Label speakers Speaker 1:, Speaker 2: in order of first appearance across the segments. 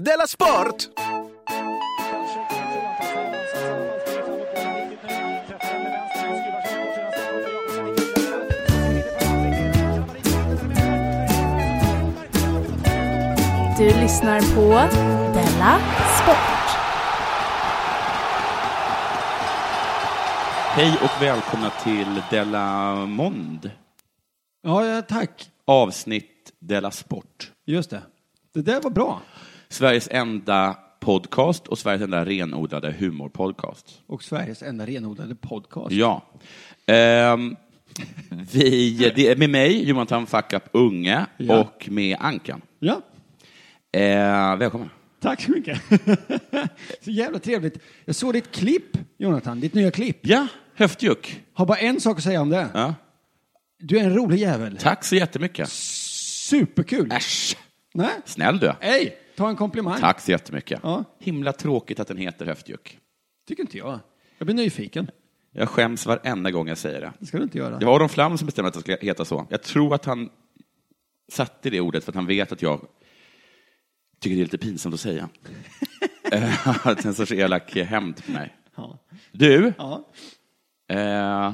Speaker 1: Della Sport!
Speaker 2: Du lyssnar på Della Sport.
Speaker 3: Hej och välkomna till Della Mond,
Speaker 4: Ja, ja, tack.
Speaker 3: avsnitt Della Sport.
Speaker 4: Just det. Det där var bra.
Speaker 3: Sveriges enda podcast och Sveriges enda renodlade humorpodcast.
Speaker 4: Och Sveriges enda renodlade podcast.
Speaker 3: Ja. Ehm, vi, det är med mig, Jonathan Fackap Unge,
Speaker 4: Ja.
Speaker 3: och med Ankan.
Speaker 4: Ja,
Speaker 3: Eh, välkommen.
Speaker 4: tack så mycket. så jävla trevligt. Jag såg ditt klipp, Jonathan. Ditt nya klipp.
Speaker 3: Ja, höftjuck.
Speaker 4: Har bara en sak att säga om det.
Speaker 3: Ja.
Speaker 4: Du är en rolig jävel.
Speaker 3: Tack så jättemycket.
Speaker 4: Superkul.
Speaker 3: Äsch.
Speaker 4: Nej.
Speaker 3: Snäll du.
Speaker 4: Hej, ta en komplimang.
Speaker 3: Tack så jättemycket.
Speaker 4: Ja.
Speaker 3: Himla tråkigt att den heter höftjuck.
Speaker 4: Tycker inte jag. Jag blir nyfiken.
Speaker 3: Jag skäms varenda gång jag säger det.
Speaker 4: Det ska du inte göra.
Speaker 3: Det var Aron Flam som bestämde att det skulle heta så. Jag tror att han satte det ordet för att han vet att jag tycker det är lite pinsamt att säga. Eh, att en sorts elak hämnd på mig.
Speaker 4: Ja.
Speaker 3: Du,
Speaker 4: Ja.
Speaker 3: eh,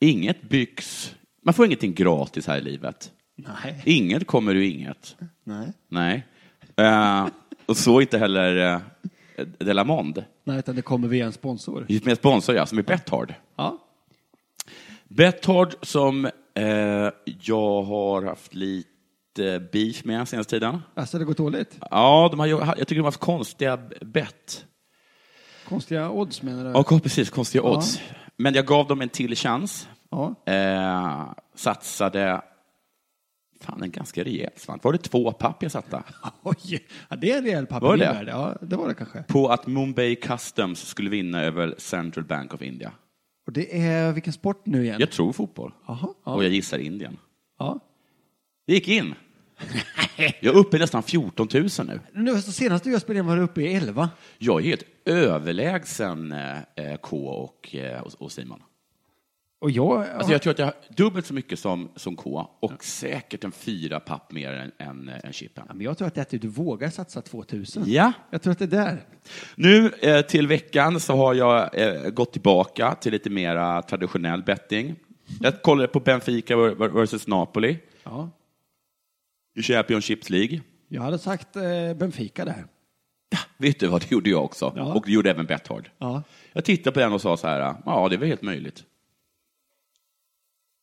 Speaker 3: inget byggs... Man får ingenting gratis här i livet.
Speaker 4: Nej.
Speaker 3: Inget kommer ur inget.
Speaker 4: Nej.
Speaker 3: Nej. Eh, och så inte heller eh, Delamond.
Speaker 4: Nej, utan det kommer via en sponsor.
Speaker 3: Med sponsor, ja, som är Betthard.
Speaker 4: Ja.
Speaker 3: Betthard som eh, jag har haft lite beef med senaste tiden.
Speaker 4: Alltså, det går dåligt.
Speaker 3: Ja, de har, ju- jag tycker de har haft konstiga bett.
Speaker 4: Konstiga odds, menar du?
Speaker 3: Ja, precis, konstiga odds. Men jag gav dem en till chans.
Speaker 4: Ja.
Speaker 3: Eh, satsade, fan en ganska rejäl slant. Var det två papp jag satte?
Speaker 4: Oj, ja, det är en rejäl
Speaker 3: Var det?
Speaker 4: pappervärde. Ja, det var det kanske.
Speaker 3: På att Mumbai Customs skulle vinna över Central Bank of India.
Speaker 4: Och det är vilken sport nu igen?
Speaker 3: Jag tror fotboll.
Speaker 4: Jaha, ja.
Speaker 3: Och jag gissar Indien.
Speaker 4: Ja.
Speaker 3: Det gick in. Jag är uppe i nästan 14 000 nu.
Speaker 4: Nu, alltså, senast jag spelade in var det uppe i 11.
Speaker 3: Jag är helt överlägsen eh, eh, K och, eh, och- och Simon.
Speaker 4: Och jag...
Speaker 3: Alltså jag tror att jag har dubbelt så mycket som, som K och säkert en fyra papp mer än, än, eh, än Chippen.
Speaker 4: ja, men jag tror att det är att du vågar satsa 2000.
Speaker 3: Ja.
Speaker 4: Jag tror att det är där.
Speaker 3: Nu eh, till veckan så har jag eh, gått tillbaka till lite mera traditionell betting. Jag kollade på Benfica ver- ver- versus Napoli
Speaker 4: Ja.
Speaker 3: i Championships League.
Speaker 4: Jag hade sagt eh, Benfica där.
Speaker 3: Vet du vad, det gjorde jag också.
Speaker 4: Ja.
Speaker 3: Och det gjorde även Betthard.
Speaker 4: Ja.
Speaker 3: Jag tittade på den och sa så här, ja det är väl helt möjligt.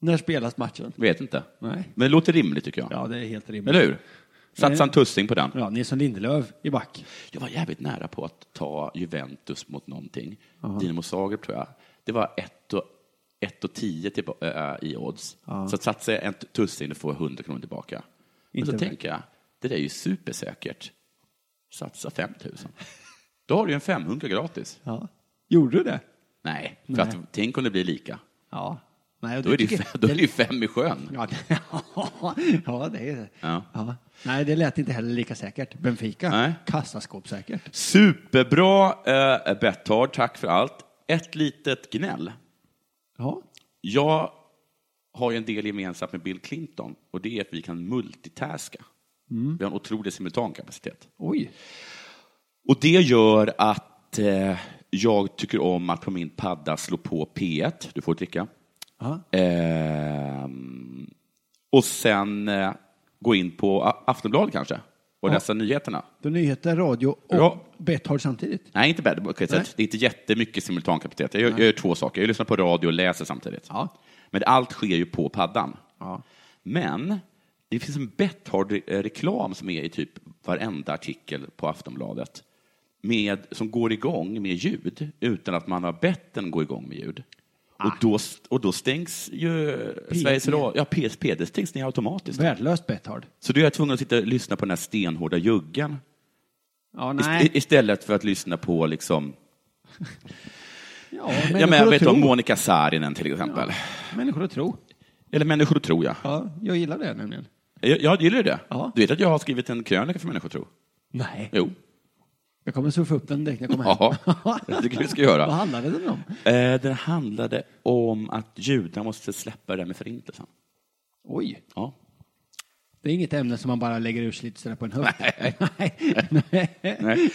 Speaker 4: När spelas matchen?
Speaker 3: Vet inte.
Speaker 4: Nej.
Speaker 3: Men det låter rimligt tycker jag.
Speaker 4: Ja, det är helt rimligt.
Speaker 3: Eller hur? Satsa
Speaker 4: Nej.
Speaker 3: en tussing på den.
Speaker 4: Ja, Nilsson Lindelöf i back.
Speaker 3: Jag var jävligt nära på att ta Juventus mot någonting. Dinamo Zagreb tror jag. Det var 1 och, ett och 10 till, äh, i odds. Så att satsa en t- tussing och få 100 kronor tillbaka. Men så
Speaker 4: Inte värt.
Speaker 3: tänker jag, det där är ju supersäkert. Satsa 5 000. Då har du ju en 500 gratis.
Speaker 4: Ja. Gjorde du det?
Speaker 3: Nej, för att tänk om det blir lika.
Speaker 4: Ja. Nej, och
Speaker 3: Då är det ju,
Speaker 4: tycker-
Speaker 3: fe- då är det ju fem i sjön.
Speaker 4: Ja, ja, det är det.
Speaker 3: Ja.
Speaker 4: Nej, det lät inte heller lika säkert. Benfica,
Speaker 3: Nej.
Speaker 4: kassaskåpssäkert.
Speaker 3: Superbra äh, Betthard, tack för allt. Ett litet gnäll.
Speaker 4: Ja.
Speaker 3: Jag har ju en del gemensamt med Bill Clinton och det är att vi kan multitaska. Vi har en otrolig simultankapacitet.
Speaker 4: Oj.
Speaker 3: Och det gör att eh, jag tycker om att på min padda slå på P1, du får dricka.
Speaker 4: Ja.
Speaker 3: Ehm, och sen eh, gå in på A- Aftonbladet kanske och läsa nyheterna.
Speaker 4: Då nyheter, radio och
Speaker 3: Ja.
Speaker 4: Betthard samtidigt.
Speaker 3: Nej, inte bad. Okay, så
Speaker 4: Nej.
Speaker 3: att det är inte jättemycket simultankapacitet. Jag, gör- jag gör två saker. Jag lyssnar på radio och läser samtidigt.
Speaker 4: Ja.
Speaker 3: Men allt sker ju på paddan.
Speaker 4: Ja.
Speaker 3: Men det finns en Betthard-reklam som är i typ varenda artikel på Aftonbladet med, som går igång med ljud utan att man har bett den gå igång med ljud.
Speaker 4: Ah.
Speaker 3: Och, då, st- och då stängs ju Sveriges Radio, ja, PSP, det stängs ner automatiskt.
Speaker 4: Värdelöst Betthard.
Speaker 3: Så då är jag tvungen att sitta och lyssna på den här stenhårda juggen
Speaker 4: Ja,
Speaker 3: Ist- i- istället för att lyssna på liksom
Speaker 4: Ja,
Speaker 3: Ja, men jag
Speaker 4: och
Speaker 3: vet
Speaker 4: tro.
Speaker 3: om Monica Saarinen till exempel.
Speaker 4: Människor att tro.
Speaker 3: Eller Människor tror jag.
Speaker 4: Ja, jag gillar det nämligen.
Speaker 3: jag. Jag gillar ju det.
Speaker 4: Ja.
Speaker 3: Du vet att jag har skrivit en krönika för Människor tror?
Speaker 4: Nej.
Speaker 3: Jo.
Speaker 4: Jag kommer surfa upp den direkt när jag kommer hem.
Speaker 3: Jaha, det tycker vi ska göra.
Speaker 4: Vad handlade den om?
Speaker 3: Eh, Den handlade om att judar måste släppa det där med förintelsen.
Speaker 4: Oj.
Speaker 3: Ja.
Speaker 4: Det är inget ämne som man bara lägger ur sig lite sådär på en höft. Nej.
Speaker 3: Nej.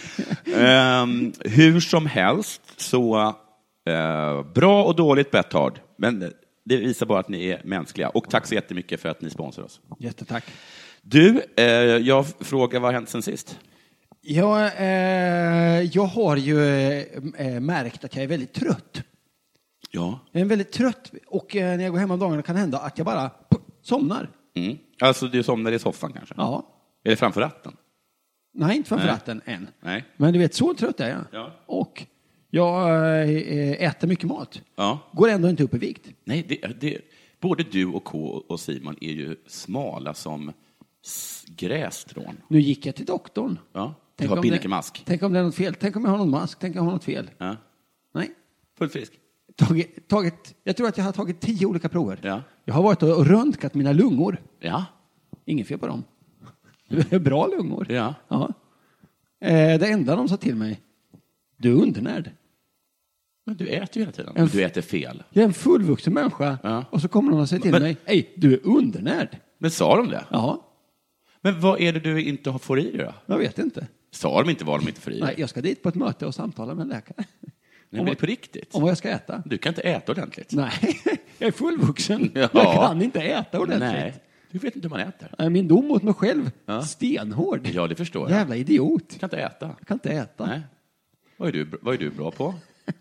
Speaker 3: Ehm, hur som helst, så eh, bra och dåligt Betthard. Men det visar bara att ni är mänskliga. Och tack så jättemycket för att ni sponsrar oss.
Speaker 4: Jättetack.
Speaker 3: Du, eh, jag frågar vad har hänt sen sist?
Speaker 4: Jag, eh, jag har ju eh, märkt att jag är väldigt trött.
Speaker 3: Ja.
Speaker 4: Jag är väldigt trött och eh, när jag går hem om dagarna kan det hända att jag bara pff, somnar.
Speaker 3: Mm. Alltså, du somnade i soffan kanske?
Speaker 4: Ja.
Speaker 3: Eller framför ratten?
Speaker 4: Nej, inte framför
Speaker 3: Nej.
Speaker 4: ratten än.
Speaker 3: Nej.
Speaker 4: Men du vet, så trött är jag.
Speaker 3: Ja.
Speaker 4: Och jag eh, äter mycket mat.
Speaker 3: Ja.
Speaker 4: Går ändå inte upp i vikt.
Speaker 3: Nej, det, det, både du och K och Simon är ju smala som s- grästrån.
Speaker 4: Nu gick jag till doktorn.
Speaker 3: Ja. Du har
Speaker 4: om det-
Speaker 3: binnikemask.
Speaker 4: Tänk om det är något fel. Tänk om jag har någon mask. Tänk om jag har något fel.
Speaker 3: Ja.
Speaker 4: Nej.
Speaker 3: Fullt frisk.
Speaker 4: Tagit, tagit, jag tror att jag har tagit tio olika prover.
Speaker 3: Ja.
Speaker 4: Jag har varit och röntgat mina lungor.
Speaker 3: Ja.
Speaker 4: Inget fel på dem. Det är Bra lungor.
Speaker 3: Ja.
Speaker 4: Eh, det enda de sa till mig, du är undernärd.
Speaker 3: Men du äter ju hela tiden.
Speaker 4: En
Speaker 3: Du äter fel.
Speaker 4: Jag är en fullvuxen människa
Speaker 3: Ja.
Speaker 4: och så kommer någon och säger till
Speaker 3: Men-
Speaker 4: mig, hej, du är undernärd.
Speaker 3: Men sa de det?
Speaker 4: Ja,
Speaker 3: Men vad är det du inte har- får i dig då?
Speaker 4: jag vet inte.
Speaker 3: Sa de inte vad de inte får i
Speaker 4: Nej,
Speaker 3: dig?
Speaker 4: jag ska dit på ett möte och samtala med en läkare
Speaker 3: Nej, men det är på riktigt.
Speaker 4: om vad jag ska äta.
Speaker 3: Du kan inte äta ordentligt.
Speaker 4: Nej, jag är fullvuxen.
Speaker 3: Ja.
Speaker 4: Jag kan inte äta ordentligt.
Speaker 3: Nej. Du vet inte hur man äter.
Speaker 4: Nej, Min dom mot mig själv,
Speaker 3: Ja.
Speaker 4: stenhård.
Speaker 3: Ja, det förstår jag.
Speaker 4: Jävla idiot.
Speaker 3: Du kan inte äta.
Speaker 4: Jag kan inte äta.
Speaker 3: Nej. Vad är du, vad är du bra på?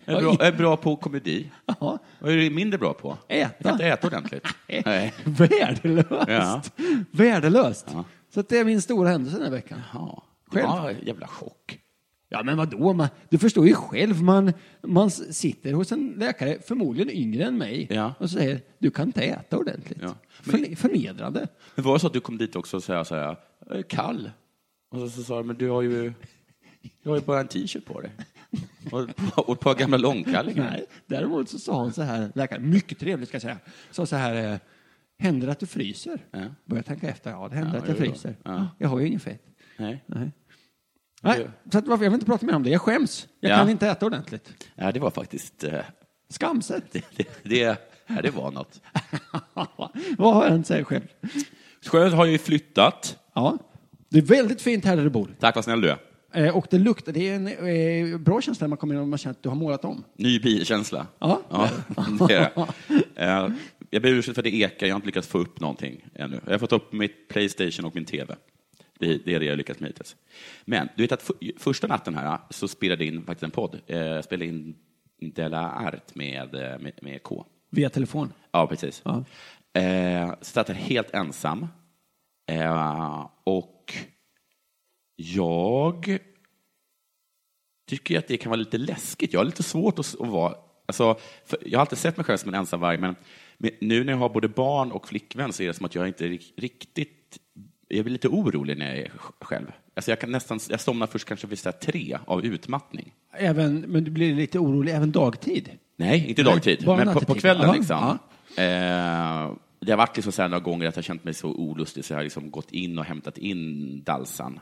Speaker 3: Jag är bra, jag är bra på komedi.
Speaker 4: Ja.
Speaker 3: Vad är du mindre bra på?
Speaker 4: Äta.
Speaker 3: Jag kan inte äta ordentligt. Nej.
Speaker 4: Värdelöst.
Speaker 3: Ja.
Speaker 4: Värdelöst.
Speaker 3: Ja.
Speaker 4: Så att det är min stora händelse den här veckan.
Speaker 3: Ja. Det
Speaker 4: Själv.
Speaker 3: var en jävla chock.
Speaker 4: Ja, men vadå? Man, du förstår ju själv, man, man s- sitter hos en läkare, förmodligen yngre än mig,
Speaker 3: Ja.
Speaker 4: och säger du kan inte äta ordentligt.
Speaker 3: Ja.
Speaker 4: Förne- förnedrande.
Speaker 3: Men var det så att du kom dit också och sa så här, jag är kall? Och så, så sa du, men du har ju, du har ju bara en t-shirt på dig. Och, och ett par gamla långkallingar.
Speaker 4: Nej. Däremot så sa hon så här, läkaren, mycket trevligt ska jag säga, sa så här, eh, händer det att du fryser?
Speaker 3: Ja.
Speaker 4: Börjar tänka efter, ja det händer
Speaker 3: Ja,
Speaker 4: att jag
Speaker 3: jo då.
Speaker 4: fryser.
Speaker 3: Ja.
Speaker 4: Jag har ju ingen fett.
Speaker 3: Nej.
Speaker 4: Nej. Nej, så att, varför- jag vill inte prata mer om det, jag skäms. Jag
Speaker 3: Ja.
Speaker 4: kan inte äta ordentligt.
Speaker 3: Nej, det var faktiskt, eh,
Speaker 4: Skamset.
Speaker 3: det, det, det, ja, det var något.
Speaker 4: Vad har jag inte säga själv?
Speaker 3: Sjön har ju flyttat.
Speaker 4: Ja, det är väldigt fint här där du bor.
Speaker 3: Tack vad snäll du är.
Speaker 4: Eh, och det luktar, det är en eh, bra känsla när man kommer in och man känner att du har målat om.
Speaker 3: Ny bilkänsla.
Speaker 4: Ja.
Speaker 3: ja det är det. Eh, Jag ber om ursäkt för att det ekar, jag har inte lyckats få upp någonting ännu. Jag har fått upp mitt Playstation och min TV. Det det är det jag har lyckats med hittills. Men du vet att f- första natten här så spelade jag in faktiskt en podd. Eh, Jag spelade in Della Art med, eh, med, med K.
Speaker 4: Via telefon.
Speaker 3: Ja, precis.
Speaker 4: Ja.
Speaker 3: Eh, Satt där helt ensam. Eh, och jag tycker att det kan vara lite läskigt. Jag har lite svårt att, s- att vara... Alltså, för jag har alltid sett mig själv som en ensamvarg, men men nu när jag har både barn och flickvän så är det som att jag inte rik- riktigt... Jag blir lite orolig när jag är sj- själv. Alltså jag, kan nästan, jag somnar först kanske vid så här tre av utmattning.
Speaker 4: Även, men du blir lite orolig även dagtid.
Speaker 3: Nej, inte
Speaker 4: Nej,
Speaker 3: dagtid,
Speaker 4: bara
Speaker 3: men på, på
Speaker 4: nattetid.
Speaker 3: kvällen.
Speaker 4: Ja,
Speaker 3: liksom. Eh, det har varit liksom så här några gånger att jag känt mig så olustig så jag har liksom gått in och hämtat in Dalsan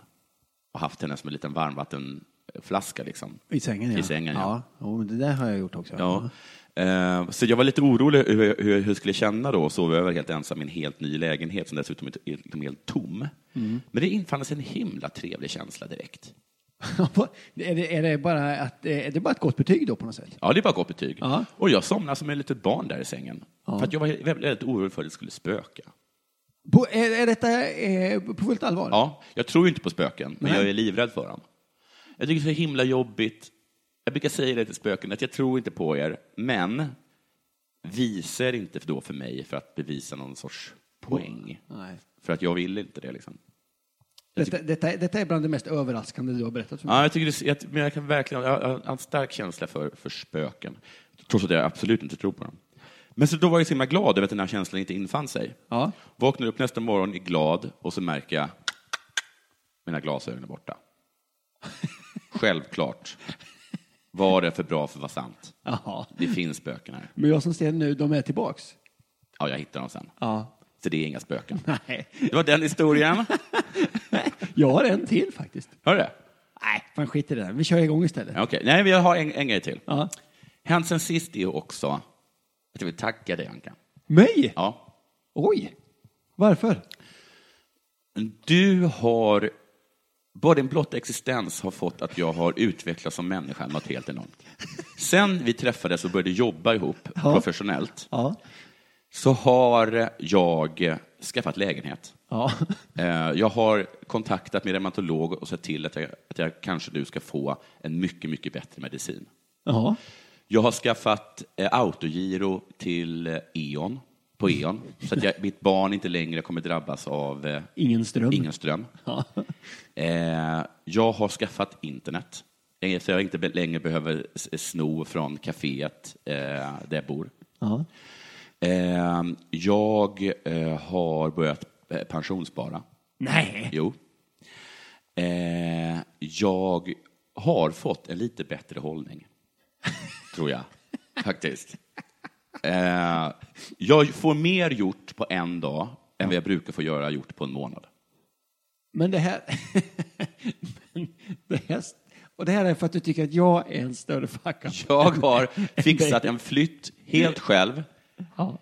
Speaker 3: och haft henne som en liten varmvattenflaska. Liksom.
Speaker 4: I sängen, ja.
Speaker 3: I sängen,
Speaker 4: ja.
Speaker 3: ja.
Speaker 4: Jo, men det där har jag gjort också.
Speaker 3: Ja. Eh, så jag var lite orolig hur jag, hur jag skulle känna då, och sova över helt ensam i en helt ny lägenhet som dessutom är är liksom helt tom.
Speaker 4: Mm.
Speaker 3: Men det infann sig en himla trevlig känsla direkt.
Speaker 4: är, det, är, det bara att, är det bara ett gott betyg då på något sätt?
Speaker 3: Ja, det är bara gott betyg.
Speaker 4: Ja.
Speaker 3: Och jag somnade som ett litet barn där i sängen.
Speaker 4: Ja.
Speaker 3: För att jag var väldigt, väldigt orolig för att det skulle spöka.
Speaker 4: På, är, är detta eh, på fullt allvar?
Speaker 3: Ja, jag tror ju inte på spöken, men
Speaker 4: Nej.
Speaker 3: jag är livrädd för dem. Jag tycker det är så himla jobbigt. Jag brukar säga det till spöken, att jag tror inte på er, men visa er inte då för mig för att bevisa någon sorts poäng.
Speaker 4: Nej.
Speaker 3: För att jag vill inte det. Liksom.
Speaker 4: Detta, detta, detta är bland det mest överraskande du har berättat för mig.
Speaker 3: Ja, jag, tycker det, jag, men jag kan verkligen jag, jag har en stark känsla för, för spöken, trots att jag absolut inte tror på dem. Men så då var jag så himla glad över att den här känslan inte infann sig.
Speaker 4: Ja.
Speaker 3: Vaknar upp nästa morgon är glad och så märker jag mina glasögon är borta. Självklart var det för bra för att vara sant.
Speaker 4: Jaha.
Speaker 3: Det finns spöken här.
Speaker 4: Men jag som ser nu, de är tillbaks.
Speaker 3: Ja, jag hittar dem sen.
Speaker 4: Ja.
Speaker 3: Så det är inga spöken.
Speaker 4: Nej.
Speaker 3: Det var den historien.
Speaker 4: Jag har en till faktiskt.
Speaker 3: Hör du det?
Speaker 4: Nej, fan skit i det där. Vi kör igång istället.
Speaker 3: Ja, Okej, nej, vi har en, en grej till.
Speaker 4: Ja.
Speaker 3: Hänt sen sist är ju också att jag vill tacka dig, Anka.
Speaker 4: Mig?
Speaker 3: Ja,
Speaker 4: Oj! Varför?
Speaker 3: Du har, bara din blotta existens har fått att jag har utvecklats som människa något helt enormt. Sen vi träffades och började jobba ihop
Speaker 4: Ja.
Speaker 3: professionellt
Speaker 4: Ja.
Speaker 3: så har jag skaffat lägenhet.
Speaker 4: Ja.
Speaker 3: Eh, Jag har kontaktat min reumatolog och sett till att jag, att jag kanske nu ska få en mycket, mycket bättre medicin.
Speaker 4: Ja.
Speaker 3: Jag har skaffat eh, autogiro till eh, E.ON, på E.ON, så att jag, mitt barn inte längre kommer drabbas av eh,
Speaker 4: Ingen ström.
Speaker 3: ingen ström.
Speaker 4: Ja.
Speaker 3: Eh, jag har skaffat internet, eh, så jag inte be- längre behöver s- eh, sno från kaféet eh, där jag bor.
Speaker 4: Ja.
Speaker 3: Eh, jag eh, har börjat eh, pensionsspara.
Speaker 4: Nej.
Speaker 3: Jo. Eh, jag har fått en lite bättre hållning, tror jag, faktiskt. Eh, jag får mer gjort på en dag än vad jag brukar få göra gjort på en månad.
Speaker 4: Men det här... Men det här... Och det här är för att du tycker att jag är en större fuck up.
Speaker 3: Jag har fixat en flytt helt själv
Speaker 4: Ja.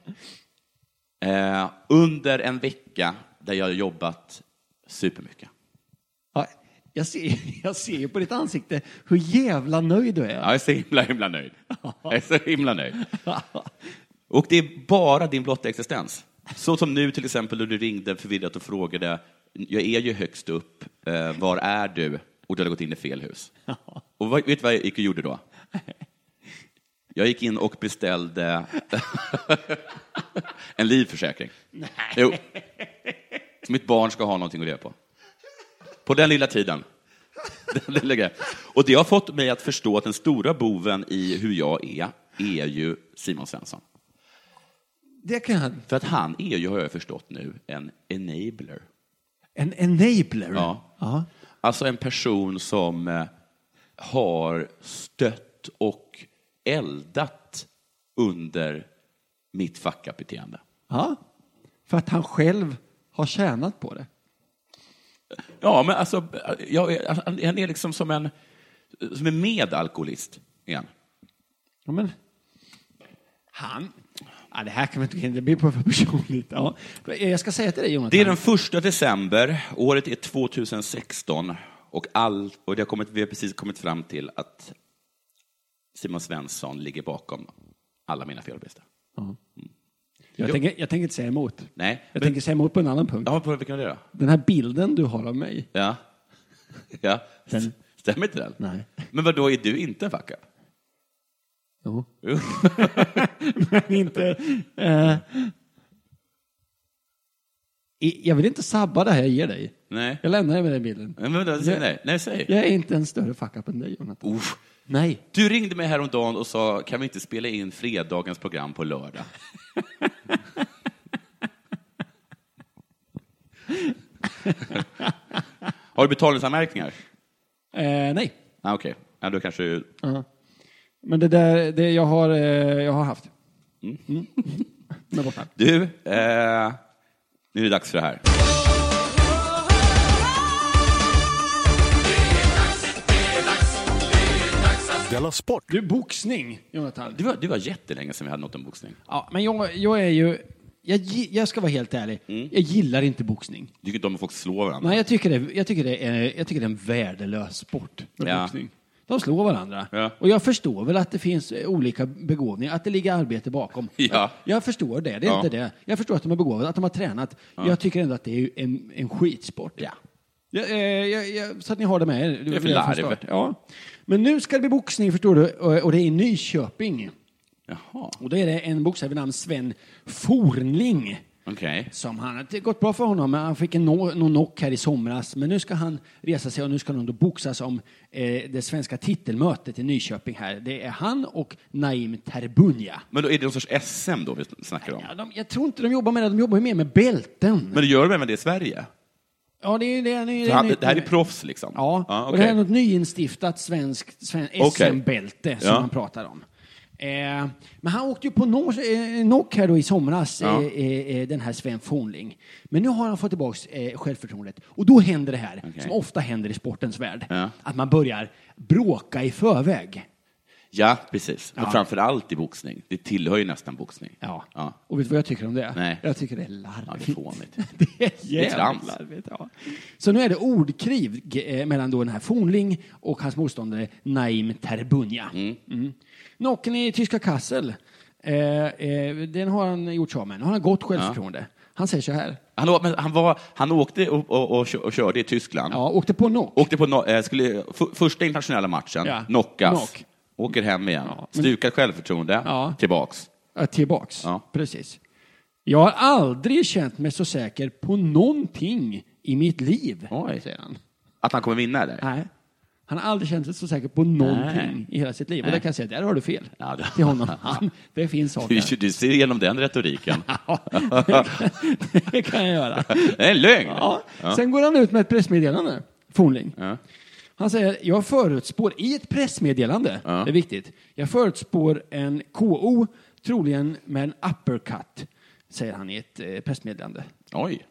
Speaker 3: eh, under en vecka där jag har jobbat supermycket.
Speaker 4: Ja, jag, ser, jag ser ju på ditt ansikte hur jävla nöjd du är.
Speaker 3: Ja, jag är så himla, himla nöjd. Jag är så himla nöjd. Och det är bara din blotta existens. Så som nu till exempel då du ringde förvirrat och frågade, jag är ju högst upp, eh, var är du? Och du hade gått in i fel hus. Och vad, vet du vad jag gick och gjorde då? Jag gick in och beställde en livförsäkring. Nej. Jo. Så mitt barn ska ha någonting att leva på. På den lilla tiden. Den lilla grejen. och det har fått mig att förstå att den stora boven i hur jag är, är ju Simon Svensson.
Speaker 4: Det kan han.
Speaker 3: För att han är ju, har jag förstått nu, en enabler.
Speaker 4: En enabler.
Speaker 3: Ja.
Speaker 4: ja.
Speaker 3: Alltså en person som eh, har stött och eldat under mitt fuck-up-beteende.
Speaker 4: Ja. För att han själv har tjänat på det.
Speaker 3: Ja, men alltså, jag, är- han han är liksom som en, som en medalkoholist. Igen.
Speaker 4: Ja, men han... Ja, det här kan man inte... Det blir på för personligt. Ja. Jag ska säga till dig, Jonathan.
Speaker 3: Det är den första december, året är 2016 och, all, och det har kommit, vi har precis kommit fram till att Simon Svensson ligger bakom alla mina felbilder.
Speaker 4: jag,
Speaker 3: Jo.
Speaker 4: tänker, jag tänker inte säga emot.
Speaker 3: Nej,
Speaker 4: Jag
Speaker 3: men-
Speaker 4: tänker säga emot på en annan punkt.
Speaker 3: Ja, på vilken var det då?
Speaker 4: Den här bilden du har av mig.
Speaker 3: Ja. ja.
Speaker 4: Den-
Speaker 3: Stämmer inte den?
Speaker 4: Nej.
Speaker 3: Men vad då är du inte en fuck-up?
Speaker 4: Jo.
Speaker 3: Jo.
Speaker 4: Men inte... Eh, i- jag vill inte sabba det här jag ger dig.
Speaker 3: Nej.
Speaker 4: Jag lämnar dig med den bilden.
Speaker 3: Men vänta, säg nej. Nej, säg.
Speaker 4: Jag är inte en större fuck-up än dig, Jonathan.
Speaker 3: Uff.
Speaker 4: Nej.
Speaker 3: Du ringde mig häromdagen och sa, kan vi inte spela in fredagens program på lördag? Har du betalningsanmärkningar?
Speaker 4: Eh, nej.
Speaker 3: Ah, Okej, ja, då kanske du...
Speaker 4: Ja. Men det där, det jag har, eh, jag har haft. Mm. Men borta.
Speaker 3: Du, eh, nu är det dags för det här.
Speaker 1: Della Sport!
Speaker 4: Du,
Speaker 3: Mm.
Speaker 4: boxning, Jonathan.
Speaker 3: Det var, det var jättelänge sedan vi hade något om boxning.
Speaker 4: Ja, men jag, jag är ju, jag, gi- jag ska vara helt ärlig,
Speaker 3: Mm.
Speaker 4: jag gillar inte boxning.
Speaker 3: Du tycker inte om att folk slår varandra?
Speaker 4: Nej, jag tycker det, jag tycker det, är, jag tycker det är en värdelös sport. med
Speaker 3: Ja.
Speaker 4: Boxning. De slår varandra.
Speaker 3: Ja.
Speaker 4: Och jag förstår väl att det finns eh, olika begåvningar, att det ligger arbete bakom.
Speaker 3: Ja.
Speaker 4: Jag förstår det, det är
Speaker 3: Ja.
Speaker 4: inte det. Jag förstår att de är begåvade, att de har tränat. Jag tycker ändå att det är en, en skitsport.
Speaker 3: Ja.
Speaker 4: Ja, eh, jag, jag, så att ni har det med er.
Speaker 3: är för
Speaker 4: redan från
Speaker 3: larv.
Speaker 4: start. Ja. Men nu ska det bli boxning, förstår du, och, och det är i Nyköping.
Speaker 3: Jaha,
Speaker 4: Och då är det en boxare vid namn Sven Fornling.
Speaker 3: okej.
Speaker 4: Som han, det har gått bra för honom, men han fick en no, någon knock här i somras. Men nu ska han resa sig och nu ska han då boxas om eh, det svenska titelmötet i Nyköping här. Det är han och Naim Terbunya.
Speaker 3: Men då är det någon sorts SM då vi snackar om?
Speaker 4: Ja, de, jag tror inte de jobbar med det, de jobbar ju mer med bälten.
Speaker 3: Men det gör de även det i Sverige?
Speaker 4: Ja, det, är- det, är- det, är-
Speaker 3: Det här,
Speaker 4: är-
Speaker 3: det här är proffs liksom?
Speaker 4: Ja,
Speaker 3: ja
Speaker 4: och det här är
Speaker 3: okej.
Speaker 4: något nyinstiftat svenskt sven,
Speaker 3: Okej.
Speaker 4: SM-bälte som
Speaker 3: Ja.
Speaker 4: han pratar om. Eh, men han åkte ju på no- eh, knock här då i somras,
Speaker 3: Ja.
Speaker 4: eh, eh, eh, den här Sven Fornling. Men nu har han fått tillbaks eh, självförtroendet. Och då händer det här, som ofta händer i sportens värld,
Speaker 3: Ja.
Speaker 4: att man börjar bråka i förväg.
Speaker 3: Ja, precis. Men
Speaker 4: Ja.
Speaker 3: framför allt i boxning. Det tillhör ju nästan boxning.
Speaker 4: Ja.
Speaker 3: Ja.
Speaker 4: Och vet du vad jag tycker om det?
Speaker 3: Nej.
Speaker 4: Jag tycker det är
Speaker 3: Ja,
Speaker 4: larvigt.
Speaker 3: det är fånigt.
Speaker 4: Det är
Speaker 3: Det är trams.
Speaker 4: jävligt larvigt. Ja. Så nu är det ordkrig eh, mellan då den här Fornling och hans motståndare Naim Terbunya. Mm. Nocken i tyska Kassel, eh, eh, den har han gjort sig av med. Nu har han gott självförtroende. Han säger så här.
Speaker 3: Han, å- men han, var, han åkte och, och, och, kö- och körde i Tyskland.
Speaker 4: Ja, åkte på knock.
Speaker 3: Åkte på no, eh, skulle, f- första internationella matchen,
Speaker 4: Ja.
Speaker 3: knockas,
Speaker 4: Knock.
Speaker 3: åker hem igen,
Speaker 4: Ja, men-
Speaker 3: stukat självförtroende,
Speaker 4: Ja.
Speaker 3: tillbaks.
Speaker 4: Ja, eh, tillbaks.
Speaker 3: Ja.
Speaker 4: Precis. Jag har aldrig känt mig så säker på någonting i mitt liv,
Speaker 3: Oj.
Speaker 4: säger han.
Speaker 3: Att han kommer vinna, eller?
Speaker 4: Nej. Han har aldrig känt sig så säker på någonting
Speaker 3: Nej.
Speaker 4: i hela sitt liv. Och
Speaker 3: Nej.
Speaker 4: där kan jag säga, där har du fel.
Speaker 3: Ja, det-
Speaker 4: Till honom. Han, det finns
Speaker 3: Du,
Speaker 4: saker.
Speaker 3: du ser igenom den retoriken.
Speaker 4: Ja, det kan jag göra.
Speaker 3: Det är en lögn!
Speaker 4: Ja. Sen går han ut med ett pressmeddelande, Fornling.
Speaker 3: Ja.
Speaker 4: Han säger, jag förutspår i ett pressmeddelande,
Speaker 3: Ja.
Speaker 4: det är viktigt, jag förutspår en KO, troligen med en uppercut, säger han i ett eh, pressmeddelande.
Speaker 3: Oj.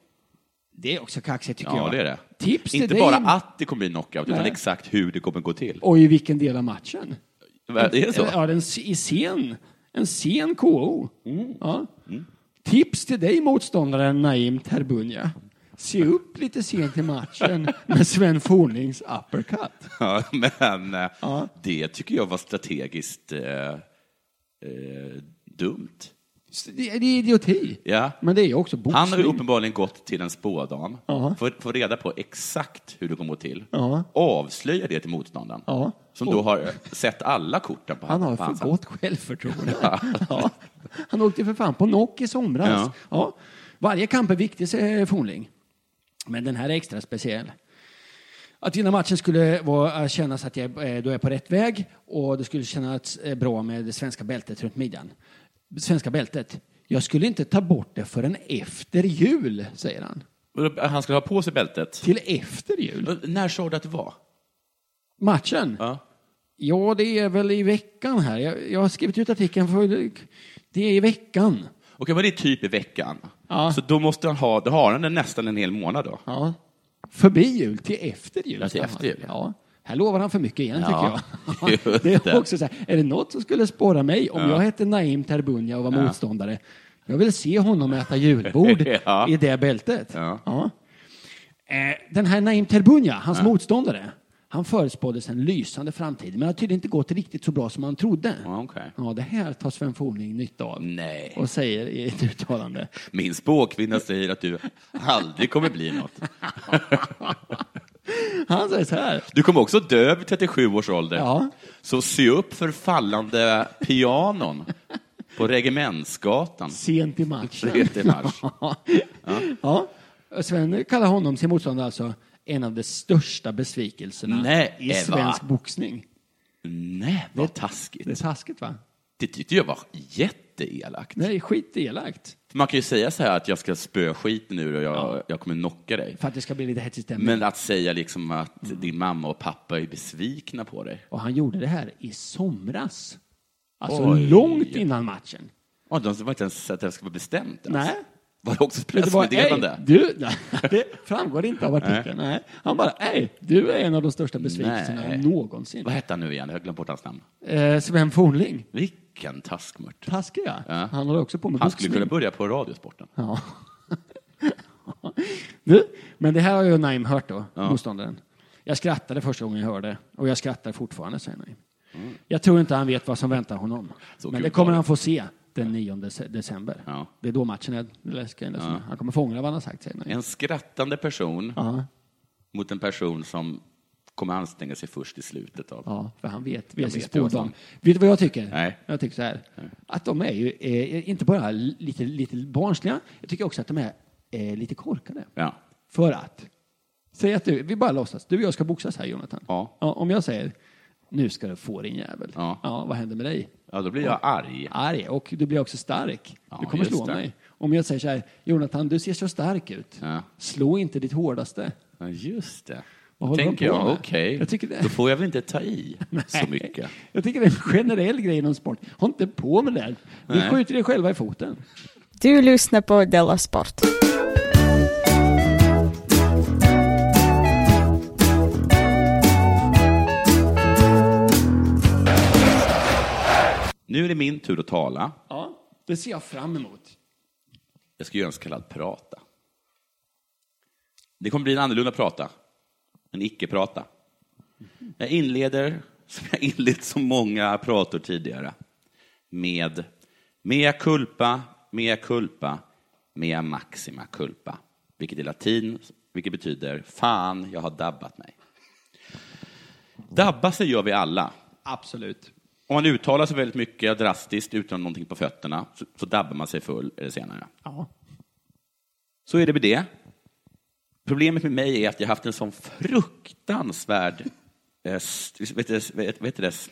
Speaker 4: Det är också kaxigt tycker
Speaker 3: Ja,
Speaker 4: jag.
Speaker 3: det är det.
Speaker 4: Tips till
Speaker 3: Inte
Speaker 4: dig.
Speaker 3: bara att det kommer bli knockout, utan
Speaker 4: Nej.
Speaker 3: exakt hur det kommer gå till.
Speaker 4: Och i vilken del av matchen?
Speaker 3: Är det så?
Speaker 4: Ja, den, i sen. En sen KO. Ja. Tips till dig, motståndaren Naim Terbunya. Se upp lite sent i matchen med Sven Fornings uppercut.
Speaker 3: Ja, men eh,
Speaker 4: Ja.
Speaker 3: det tycker jag var strategiskt eh, eh, dumt.
Speaker 4: Så Det, det är idioti.
Speaker 3: Ja.
Speaker 4: Men det är ju också boxning.
Speaker 3: Han har ju uppenbarligen gått till en spådam
Speaker 4: Ja.
Speaker 3: för att få reda på exakt hur det kommer att gå till.
Speaker 4: Ja.
Speaker 3: Avslöja det till motståndaren,
Speaker 4: Ja.
Speaker 3: som då har eh, sett alla korten på
Speaker 4: Han har
Speaker 3: på hans
Speaker 4: för gott självförtroende. ja. Han åkte för fan på knock i somras.
Speaker 3: Ja.
Speaker 4: Ja. Varje kamp är viktig, säger Fornling. Men den här är extra speciell. Att vinna matchen skulle vara, kännas att jag eh, då är på rätt väg och det skulle kännas eh, bra med det svenska bältet runt midjan. Svenska bältet. Jag skulle inte ta bort det förrän efter jul, säger han.
Speaker 3: hand. Han ska ha på sig bältet.
Speaker 4: Till efter jul?
Speaker 3: När sa du att det var?
Speaker 4: Matchen?
Speaker 3: Ja.
Speaker 4: Ja, det är väl i veckan här. Jag, jag har skrivit ut artikeln för det är i veckan.
Speaker 3: Okej, men det är typ i veckan.
Speaker 4: Ja.
Speaker 3: Så då måste han ha, då har han den nästan en hel månad då.
Speaker 4: Ja. Förbi jul till efter jul.
Speaker 3: Ja, till
Speaker 4: sa
Speaker 3: efter
Speaker 4: han.
Speaker 3: jul.
Speaker 4: Ja. Här lovar han för mycket igen,
Speaker 3: Ja,
Speaker 4: tycker jag. det
Speaker 3: just det.
Speaker 4: är också så här, är det något som skulle spåra mig om jag hette Naim Terbunya och var motståndare? Jag vill se honom äta julbord
Speaker 3: Ja.
Speaker 4: i det bältet.
Speaker 3: Ja.
Speaker 4: Eh, Den här Naim Terbunya, hans motståndare, han förutspåddes en lysande framtid, men har tydligen inte gått riktigt så bra som han trodde.
Speaker 3: Ja, okej.
Speaker 4: ja, det här tar Sven Fornling nytta av
Speaker 3: Nej.
Speaker 4: och säger i ett uttalande.
Speaker 3: Min spåkvinna säger att du aldrig kommer bli något.
Speaker 4: Han säger så här,
Speaker 3: Du kommer också dö vid 37 års ålder.
Speaker 4: Ja.
Speaker 3: Så se upp för fallande pianon på Regementsgatan.
Speaker 4: sent i matchen.
Speaker 3: Sent i mars.
Speaker 4: Ja. Eh, Sven kallar honom, sin motståndare alltså, en av de största besvikelserna
Speaker 3: Nej,
Speaker 4: i
Speaker 3: Eva.
Speaker 4: svensk boxning.
Speaker 3: Nej, vad taskigt.
Speaker 4: Det är taskigt, va?
Speaker 3: Det tyckte jag var jätteelakt.
Speaker 4: Nej, skitelakt.
Speaker 3: Man kan ju säga så här att jag ska spö skiten nu och jag, jag kommer knocka dig.
Speaker 4: För att det ska bli lite hetsig stämning.
Speaker 3: Men att säga liksom att din mamma och pappa är besvikna på dig.
Speaker 4: Och han gjorde det här i somras. Alltså
Speaker 3: Oj.
Speaker 4: långt innan matchen.
Speaker 3: Ja, de var inte ens att det skulle vara bestämt. ens.
Speaker 4: Nej.
Speaker 3: Var Alltså, det också ett
Speaker 4: Det, var, ej,
Speaker 3: pressmeddelande?
Speaker 4: du, nej, det framgår inte av artikeln. Nej. Han bara, nej, du är en av de största besvikelserna
Speaker 3: Nej.
Speaker 4: någonsin.
Speaker 3: Vad hette han nu igen? Jag har glömt bort hans namn.
Speaker 4: Eh, Sven Fornling,
Speaker 3: Vilken taskmört.
Speaker 4: taskig ja.
Speaker 3: Ja.
Speaker 4: Han håller också på med
Speaker 3: Han skulle
Speaker 4: boxning.
Speaker 3: kunna börja på Radiosporten.
Speaker 4: Ja. du, men det här har ju Naim hört då, motståndaren. Jag skrattade första gången jag hörde och jag skrattar fortfarande, säger Naim. Jag tror inte han vet vad som väntar honom.
Speaker 3: Mm. Så
Speaker 4: men
Speaker 3: kul
Speaker 4: det kommer
Speaker 3: var det.
Speaker 4: han få se den 9 dec- december.
Speaker 3: Ja.
Speaker 4: Det är då matchen är. Det läskiga är det som är. Han kommer fånga vad han har sagt, säger Naim.
Speaker 3: En skrattande person
Speaker 4: Ja,
Speaker 3: mot en person som kommer anstränga sig först i slutet av...
Speaker 4: ja, för han vet. Vi har
Speaker 3: vet
Speaker 4: sin
Speaker 3: ju vad
Speaker 4: spådam.
Speaker 3: som-
Speaker 4: Vet du vad jag tycker?
Speaker 3: Nej.
Speaker 4: Jag tycker så här. Att de är ju eh, inte bara lite, lite barnsliga. Jag tycker också att de är eh, lite korkade.
Speaker 3: Ja.
Speaker 4: För att? Säg att du, vi bara låtsas, du och jag ska boxas här Jonathan.
Speaker 3: Ja.
Speaker 4: om jag säger, nu ska du få din jävel.
Speaker 3: Ja.
Speaker 4: vad händer med dig?
Speaker 3: ja, då blir jag arg.
Speaker 4: Arg, och du blir också stark.
Speaker 3: Ja,
Speaker 4: du kommer
Speaker 3: just
Speaker 4: slå
Speaker 3: det.
Speaker 4: mig. Om jag säger så här, Jonathan du ser så stark ut.
Speaker 3: Ja.
Speaker 4: Slå inte ditt hårdaste.
Speaker 3: Ja, just det.
Speaker 4: Vad
Speaker 3: Då
Speaker 4: håller
Speaker 3: tänker
Speaker 4: de på
Speaker 3: jag,
Speaker 4: med?
Speaker 3: okej,
Speaker 4: Jag tycker det-
Speaker 3: då får jag väl inte ta i så mycket.
Speaker 4: Jag tycker det är en generell grej inom sport. Håll inte på med det här. Ni
Speaker 3: Nej.
Speaker 4: skjuter er själva i foten.
Speaker 1: Du lyssnar på Della Sport.
Speaker 3: Nu är det min tur att tala.
Speaker 4: Ja, det ser jag fram emot.
Speaker 3: Jag ska göra en så kallad prata. Det kommer bli en annorlunda prata. En icke-prata. Jag inleder, som jag inlett så många prator tidigare, med mea culpa, mea culpa, mea maxima culpa. Vilket är latin, vilket betyder fan, jag har dabbat mig. Dabba sig gör vi alla.
Speaker 4: Absolut.
Speaker 3: Om man uttalar sig väldigt mycket drastiskt utan någonting på fötterna så, så dabbar man sig full eller senare.
Speaker 4: Ja.
Speaker 3: Så är det med det. Problemet med mig är att jag haft en sån fruktansvärd eh, s- vet du, vet, vet du det, s-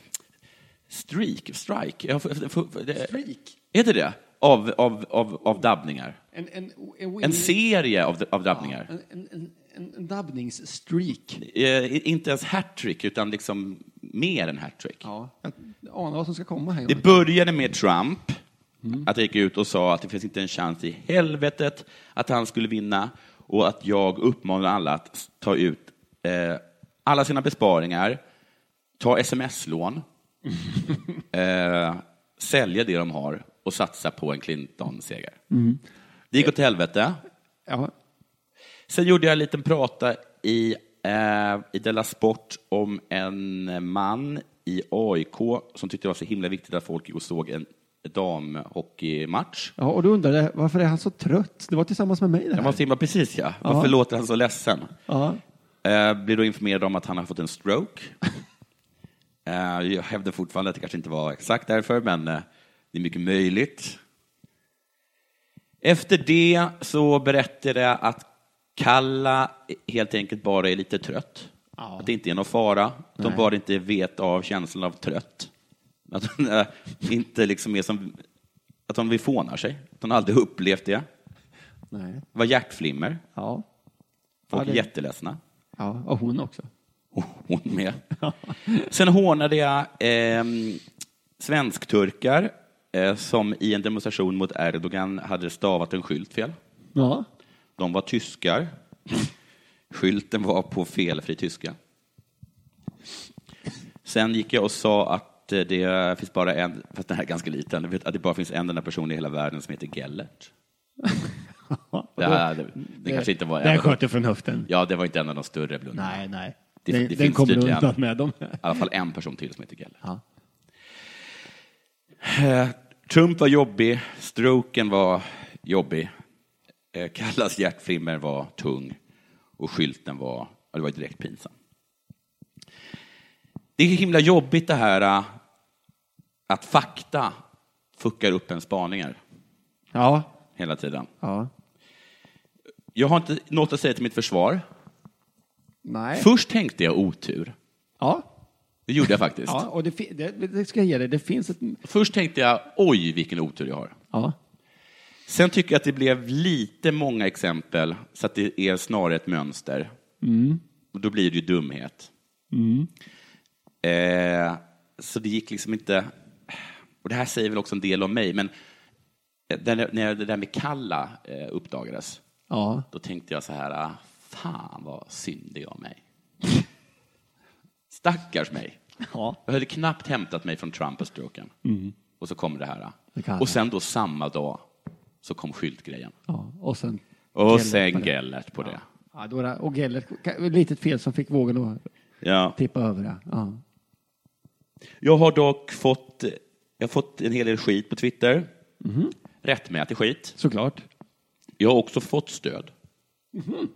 Speaker 3: streak, strike, jag har f- f- f- det-
Speaker 4: Streak?
Speaker 3: heter det? Av, av, av, av dabbningar.
Speaker 4: En, en, en,
Speaker 3: En serie av, av dabbningar.
Speaker 4: en, en, en, en, en dabbningsstreak.
Speaker 3: Eh, inte ens hattrick, utan liksom mer än hattrick.
Speaker 4: Ja. Jag anar vad som ska komma här.
Speaker 3: Det
Speaker 4: Jonathan.
Speaker 3: började med Trump, att jag gick ut och sa att det finns inte en chans i helvetet att han skulle vinna och att jag uppmanar alla att ta ut eh, alla sina besparingar, ta sms-lån, eh, sälja det de har och satsa på en Clinton-seger. Det gick åt helvete.
Speaker 4: Ja.
Speaker 3: Sen gjorde jag en liten prata i, eh, i Della Sport om en man i AIK som tyckte det var så himla viktigt att folk gick och såg en damhockeymatch.
Speaker 4: ja, och du undrade varför är han så trött? Det var tillsammans med mig det
Speaker 3: Jag
Speaker 4: här.
Speaker 3: måste himla precis ja. Varför låter han så ledsen?
Speaker 4: Ja.
Speaker 3: Eh, blir då informerad om att han har fått en stroke. eh, jag hävdar fortfarande att det kanske inte var exakt därför, men eh, det är mycket möjligt. Efter det så berättade jag att Kalla helt enkelt bara är lite trött. Att det inte är någon fara. Att de bara inte vet av känslan av trött. Att de eh, inte liksom är som... Att de vill sig. Att de aldrig upplevt det.
Speaker 4: Nej.
Speaker 3: Det var hjärtflimmer.
Speaker 4: Ja.
Speaker 3: Folk
Speaker 4: Ja,
Speaker 3: är
Speaker 4: det-
Speaker 3: jätteledsna.
Speaker 4: ja. Och hon också.
Speaker 3: Hon med. Sen hånade jag eh, svenskturkar eh, som i en demonstration mot Erdogan hade stavat en skylt fel.
Speaker 4: Ja.
Speaker 3: De var tyskar. Skylten var på felfri tyska. Sen gick jag och sa att eh, det finns bara en, fast den här är ganska liten, du vet, att det bara finns en enda person i hela världen som heter Gellert. Det, här, det, det kanske inte var en,
Speaker 4: Den
Speaker 3: av de-
Speaker 4: sköt du från höften.
Speaker 3: ja, det var inte en av de större blundarna.
Speaker 4: Nej, nej.
Speaker 3: Det-
Speaker 4: den
Speaker 3: det
Speaker 4: den
Speaker 3: finns
Speaker 4: kommer du
Speaker 3: tydligen.
Speaker 4: undan med dem.
Speaker 3: i alla fall en person till som heter Geller.
Speaker 4: Ja.
Speaker 3: Eh, Trump var jobbig, stroken var jobbig, eh, Kallas hjärtflimmer var tung och skylten var, ja, det var direkt pinsam. Det är himla jobbigt det här eh, att fakta fuckar upp ens spaningar
Speaker 4: Ja.
Speaker 3: hela tiden.
Speaker 4: Ja.
Speaker 3: Jag har inte något att säga till mitt försvar.
Speaker 4: Nej.
Speaker 3: Först tänkte jag otur.
Speaker 4: Ja.
Speaker 3: Det gjorde jag faktiskt.
Speaker 4: Ja, och det, fi- det, det ska jag ge dig. Det finns ett...
Speaker 3: Först tänkte jag, oj vilken otur jag har.
Speaker 4: Ja.
Speaker 3: Sen tycker jag att det blev lite många exempel, så att det är snarare ett mönster. Och då blir det ju dumhet. Eh, så det gick liksom inte... Och det här säger väl också en del om mig, men eh, där- när det där med Kalla eh, uppdagades,
Speaker 4: Ja.
Speaker 3: då tänkte jag så här, ah, fan vad synd det är om mig. Stackars mig.
Speaker 4: Ja.
Speaker 3: Jag hade knappt hämtat mig från Trump och stroken. Och så kom det här.
Speaker 4: Det kan
Speaker 3: och sen då samma dag så kom skyltgrejen.
Speaker 4: ja. Och sen...
Speaker 3: Och
Speaker 4: Gellert på
Speaker 3: sen
Speaker 4: det.
Speaker 3: Gellert på det.
Speaker 4: Ja, då är det, och Gellert, ett litet fel som fick vågen att
Speaker 3: Ja.
Speaker 4: tippa över. ja. Ja.
Speaker 3: Jag har dock fått, jag har fått en hel del skit på Twitter. Mm. Rättmätig skit.
Speaker 4: Såklart.
Speaker 3: Jag har också fått stöd. Mm-hmm.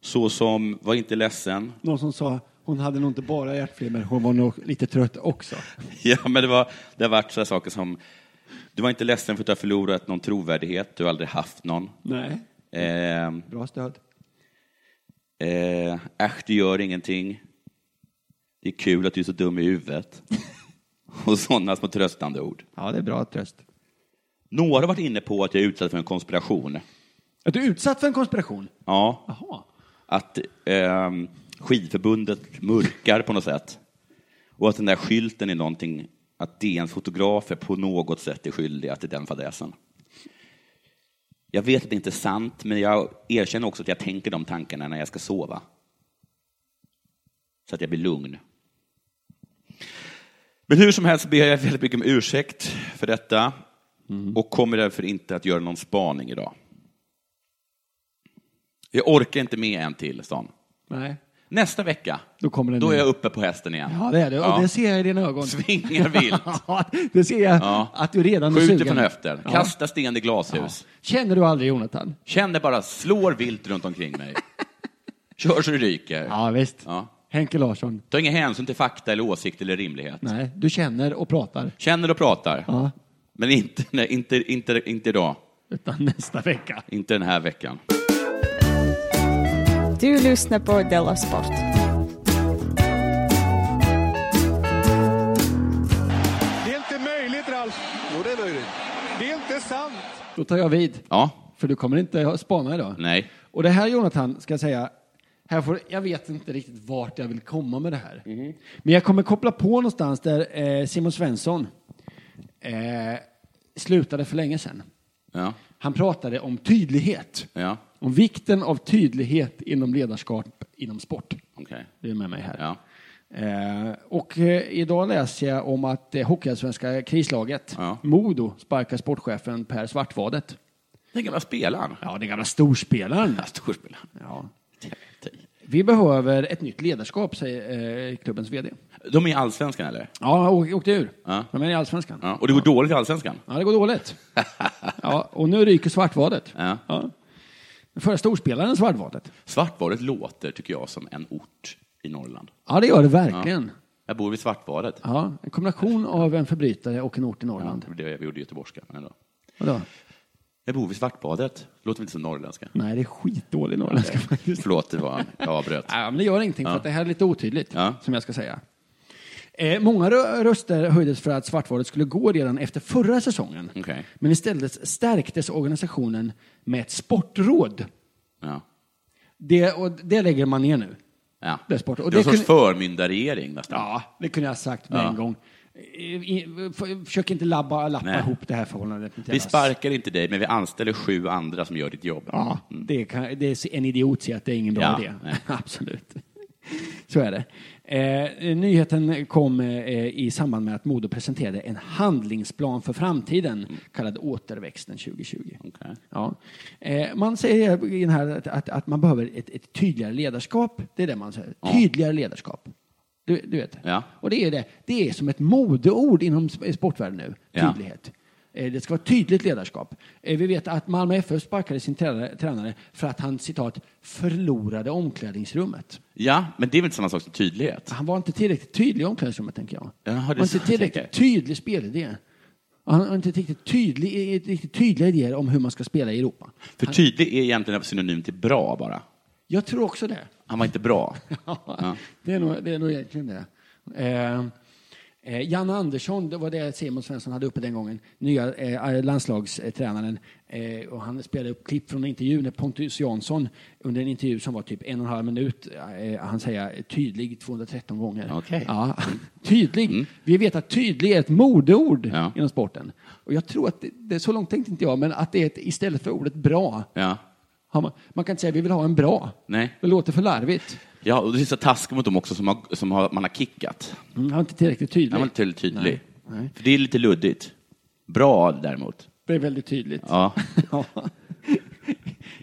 Speaker 3: Så som, var inte ledsen.
Speaker 4: Någon som sa hon hade nog inte bara hjärtflimmer, hon var nog lite trött också.
Speaker 3: Ja, men det, var, det har varit så här saker som, du var inte ledsen för att du har förlorat någon trovärdighet, du har aldrig haft någon.
Speaker 4: Nej.
Speaker 3: Ehm,
Speaker 4: Bra stöd.
Speaker 3: Eh, äsch, det gör ingenting. Det är kul att du är så dum i huvudet. Och sådana små tröstande ord.
Speaker 4: Ja, det är bra tröst.
Speaker 3: Några har varit inne på att jag är utsatt för en konspiration.
Speaker 4: Är du utsatt för en konspiration?
Speaker 3: Ja,
Speaker 4: Jaha.
Speaker 3: att eh, skidförbundet mörkar på något sätt. Och att den där skylten är någonting, att DNs fotografer på något sätt är skyldiga till den fadäsen. Jag vet att det inte är sant, men jag erkänner också att jag tänker de tankarna när jag ska sova. Så att jag blir lugn. Men hur som helst ber jag väldigt mycket om ursäkt för detta och kommer därför inte att göra någon spaning idag. Jag orkar inte med en till, sa han.
Speaker 4: Nej.
Speaker 3: Nästa vecka,
Speaker 4: Då kommer den
Speaker 3: då är
Speaker 4: nya.
Speaker 3: jag uppe på hästen igen.
Speaker 4: Ja, det är det. Och det ser jag i dina ögon.
Speaker 3: Svingar vilt.
Speaker 4: Ja, det ser jag
Speaker 3: Ja.
Speaker 4: att du redan är
Speaker 3: Skjuter
Speaker 4: sugen.
Speaker 3: från höfter,
Speaker 4: Ja.
Speaker 3: kastar sten i glashus.
Speaker 4: Känner du aldrig Jonathan?
Speaker 3: Känner bara slår vilt runt omkring mig. Kör så det ryker.
Speaker 4: Ja, visst.
Speaker 3: Ja.
Speaker 4: Henke Larsson.
Speaker 3: Ta ingen hänsyn till fakta eller åsikt eller rimlighet.
Speaker 4: Nej, du känner och pratar.
Speaker 3: Känner och pratar.
Speaker 4: Ja.
Speaker 3: Men inte, nej, inte, inte, inte idag.
Speaker 4: Utan nästa vecka.
Speaker 3: Inte den här veckan.
Speaker 1: Du lyssnar på Della Sport.
Speaker 5: Det är inte möjligt, Ralf. Jo, det är möjligt. Det är inte sant.
Speaker 4: Då tar jag vid.
Speaker 3: Ja,
Speaker 4: För du kommer inte ha- spana idag.
Speaker 3: nej.
Speaker 4: Och det här Jonathan, ska jag säga, här får, jag vet inte riktigt vart jag vill komma med det här.
Speaker 3: Mm-hmm.
Speaker 4: Men jag kommer koppla på någonstans där eh, Simon Svensson eh, slutade för länge sedan.
Speaker 3: Ja,
Speaker 4: Han pratade om tydlighet.
Speaker 3: ja,
Speaker 4: Om vikten av tydlighet inom ledarskap inom sport.
Speaker 3: okej.
Speaker 4: Du är med mig här.
Speaker 3: Ja.
Speaker 4: Eh, och eh, idag läser jag om att eh, Hockeyallsvenska krislaget,
Speaker 3: Ja.
Speaker 4: Modo, sparkar sportchefen Per Svartvadet.
Speaker 3: Den gamla spelaren.
Speaker 4: Ja, den gamla storspelaren.
Speaker 3: Ja, Storspelaren.
Speaker 4: Ja.
Speaker 3: Jätte-
Speaker 4: Vi behöver ett nytt ledarskap, säger eh, klubbens vd.
Speaker 3: De är i allsvenskan, eller?
Speaker 4: Ja, och åkte ur.
Speaker 3: Ja.
Speaker 4: De är i allsvenskan.
Speaker 3: Ja. Och det går dåligt i allsvenskan?
Speaker 4: Ja, det går dåligt. ja, och nu ryker Svartvadet.
Speaker 3: Ja.
Speaker 4: Den förra storspelaren Svartvadet.
Speaker 3: Svartvaret låter, tycker jag, som en ort i Norrland.
Speaker 4: Ja, det gör det verkligen.
Speaker 3: Jag bor vid Svartvaret.
Speaker 4: Ja. en kombination av en förbrytare och en ort i Norrland.
Speaker 3: Det var- vi gjorde göteborgska, men ändå.
Speaker 4: Vadå?
Speaker 3: Jag bor vid Svartbadet. Låter väl inte så norrländska?
Speaker 4: Nej, det är skitdålig norrländska faktiskt.
Speaker 3: Förlåt, det var, jag avbröt.
Speaker 4: Ja, men det gör ingenting, för att det här är lite otydligt,
Speaker 3: Ja.
Speaker 4: som jag ska säga. Eh, många rö- röster höjdes för att Svartvadet skulle gå redan efter förra säsongen.
Speaker 3: Okej.
Speaker 4: Men istället stärktes organisationen med ett sportråd.
Speaker 3: Ja.
Speaker 4: Det, och det lägger man ner nu.
Speaker 3: Ja.
Speaker 4: Det är sport. Och
Speaker 3: det är en
Speaker 4: det
Speaker 3: sorts
Speaker 4: kunde-
Speaker 3: förmyndarregering nästan.
Speaker 4: Ja, det kunde jag ha sagt med
Speaker 3: Ja.
Speaker 4: en gång. I, i, för, försök inte labba, lappa
Speaker 3: Nej.
Speaker 4: ihop det här förhållandet. med
Speaker 3: Vi
Speaker 4: deras-
Speaker 3: sparkar inte dig, men vi anställer sju andra som gör ditt jobb.
Speaker 4: Ja, det, kan, det är en idiot säger att det är ingen bra
Speaker 3: Mm. Ja,
Speaker 4: idé.
Speaker 3: nej.
Speaker 4: Absolut. Så är det. Eh, nyheten kom eh, i samband med att Modo presenterade en handlingsplan för framtiden kallad Återväxten 2020.
Speaker 3: Mm. Okej.
Speaker 4: Ja. Eh, man säger i den här att, att, att man behöver ett, ett tydligare ledarskap. Det är det man säger. Tydligare ledarskap. Du, du vet.
Speaker 3: Ja.
Speaker 4: Och det är det. Det är som ett modeord inom sp- sportvärlden nu.
Speaker 3: Ja.
Speaker 4: Tydlighet. Eh, Det ska vara tydligt ledarskap. Eh, Vi vet att Malmö FF sparkade sin tränare- tränare för att han citat förlorade omklädningsrummet.
Speaker 3: Ja, men det är väl inte samma sak som tydlighet?
Speaker 4: Han var inte tillräckligt tydlig i omklädningsrummet, tänker jag.
Speaker 3: Jaha, det är
Speaker 4: han var
Speaker 3: så
Speaker 4: inte
Speaker 3: jag
Speaker 4: tillräckligt tydlig spelidé. Och Han har inte riktigt, tydlig, riktigt tydliga idéer om hur man ska spela i Europa.
Speaker 3: För tydlig är egentligen synonym till bra bara.
Speaker 4: Jag tror också det.
Speaker 3: Han var inte bra.
Speaker 4: Ja. Det, är nog, det är nog egentligen det. Eh, eh, Janne Andersson, det var det Simon Svensson hade uppe den gången, nya eh, landslagstränaren. Eh, och han spelade upp klipp från en intervju när Pontus Jansson, under en intervju som var typ en och en halv minut, eh, han säger tydlig 213 gånger.
Speaker 3: Okej. Mm.
Speaker 4: Ja, tydlig. Vi vet att tydlig är ett modeord
Speaker 3: Ja.
Speaker 4: inom sporten. Och jag tror att, det, det, så långt tänkte inte jag, men att det är ett, istället för ordet bra,
Speaker 3: Ja.
Speaker 4: har man, man kan inte säga vi vill ha en bra.
Speaker 3: Nej.
Speaker 4: Det låter för larvigt.
Speaker 3: Ja, och det är så taskigt mot dem också som, har, som har, man har kickat.
Speaker 4: Mm, han var inte tillräckligt tydlig.
Speaker 3: Han var inte tillräckligt tydlig.
Speaker 4: Nej, nej.
Speaker 3: För det är lite luddigt. Bra däremot.
Speaker 4: Det är väldigt tydligt.
Speaker 3: Ja.
Speaker 4: Ja.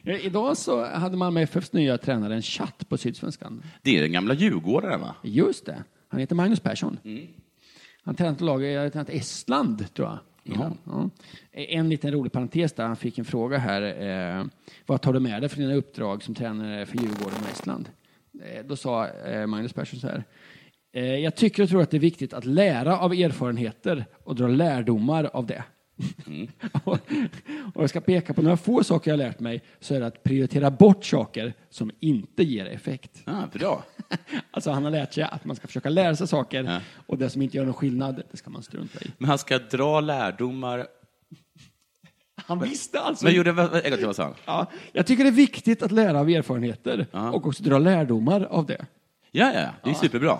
Speaker 4: Eh, Idag så hade Malmö FFs nya tränare en chatt på Sydsvenskan.
Speaker 3: Det är den gamla djurgårdaren, va?
Speaker 4: Just det. Han heter Magnus Persson. Han tränat lag i jag tränat Estland, tror jag. innan. Ja. En liten rolig parentes där. Han fick en fråga här. Eh, vad tar du med dig för dina uppdrag som tränare för Djurgården och Estland? Eh, då sa eh, Magnus Persson så här. Eh, jag tycker och tror att det är viktigt att lära av erfarenheter och dra lärdomar av det. och, och jag ska peka på några få saker jag har lärt mig så är det att prioritera bort saker som inte ger effekt.
Speaker 3: Ja, bra.
Speaker 4: Alltså han har lärt sig att man ska försöka lära sig saker och det som inte gör någon skillnad, det ska man strunta i.
Speaker 3: Men han ska dra lärdomar.
Speaker 4: Han visste alltså.
Speaker 3: Men gjorde, vad- vad- en gång till, vad sa han?
Speaker 4: ja, jag tycker det är viktigt att lära av erfarenheter och också dra lärdomar av det.
Speaker 3: Ja, ja, det är superbra.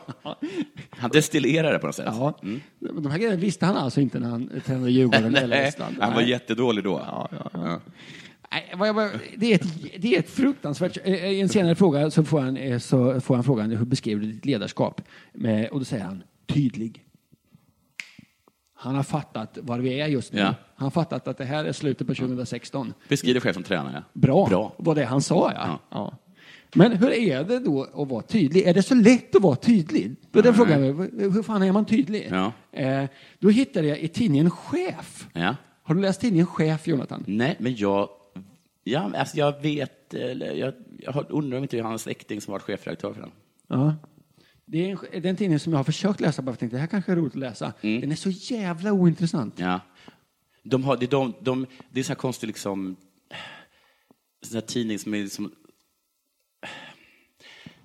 Speaker 3: Han destillerar det på något sätt.
Speaker 4: Ja. De här grejerna visste han alltså inte när han eh, tränade Djurgården eller
Speaker 3: Mm. Nej,
Speaker 4: Estland.
Speaker 3: han var
Speaker 4: Nej.
Speaker 3: jättedålig då.
Speaker 4: Nej, vad jag bara, det, är ett, det är ett fruktansvärt... eh, I en senare fråga så får han, eh, så får han frågan hur beskriver du ditt ledarskap? Eh, Och då säger han tydlig. Han har fattat var vi är just nu.
Speaker 3: Ja.
Speaker 4: Han har fattat att det här är slutet på 2016.
Speaker 3: Beskriv dig själv som tränare.
Speaker 4: Bra,
Speaker 3: Bra.
Speaker 4: var det han sa ja.
Speaker 3: Ja.
Speaker 4: ja. Men hur är det då att vara tydlig? Är det så lätt att vara tydlig? Då är den frågan, hur hur fan är man tydlig?
Speaker 3: Ja.
Speaker 4: Eh, då hittade jag i tidningen Chef.
Speaker 3: Ja.
Speaker 4: Har du läst tidningen Chef, Jonathan?
Speaker 3: Nej, men jag... Ja, alltså jag vet... Eller jag, jag har- undrar om inte Johannes Ekting som varit chefredaktör för den.
Speaker 4: Ja. Det är en, det är en tidning som jag har försökt läsa, bara för att jag tänkte, det här kanske är roligt att läsa. Den är så jävla ointressant.
Speaker 3: Ja. De har, det, är de, de, det är så här konstigt liksom... Sån här tidning som är liksom...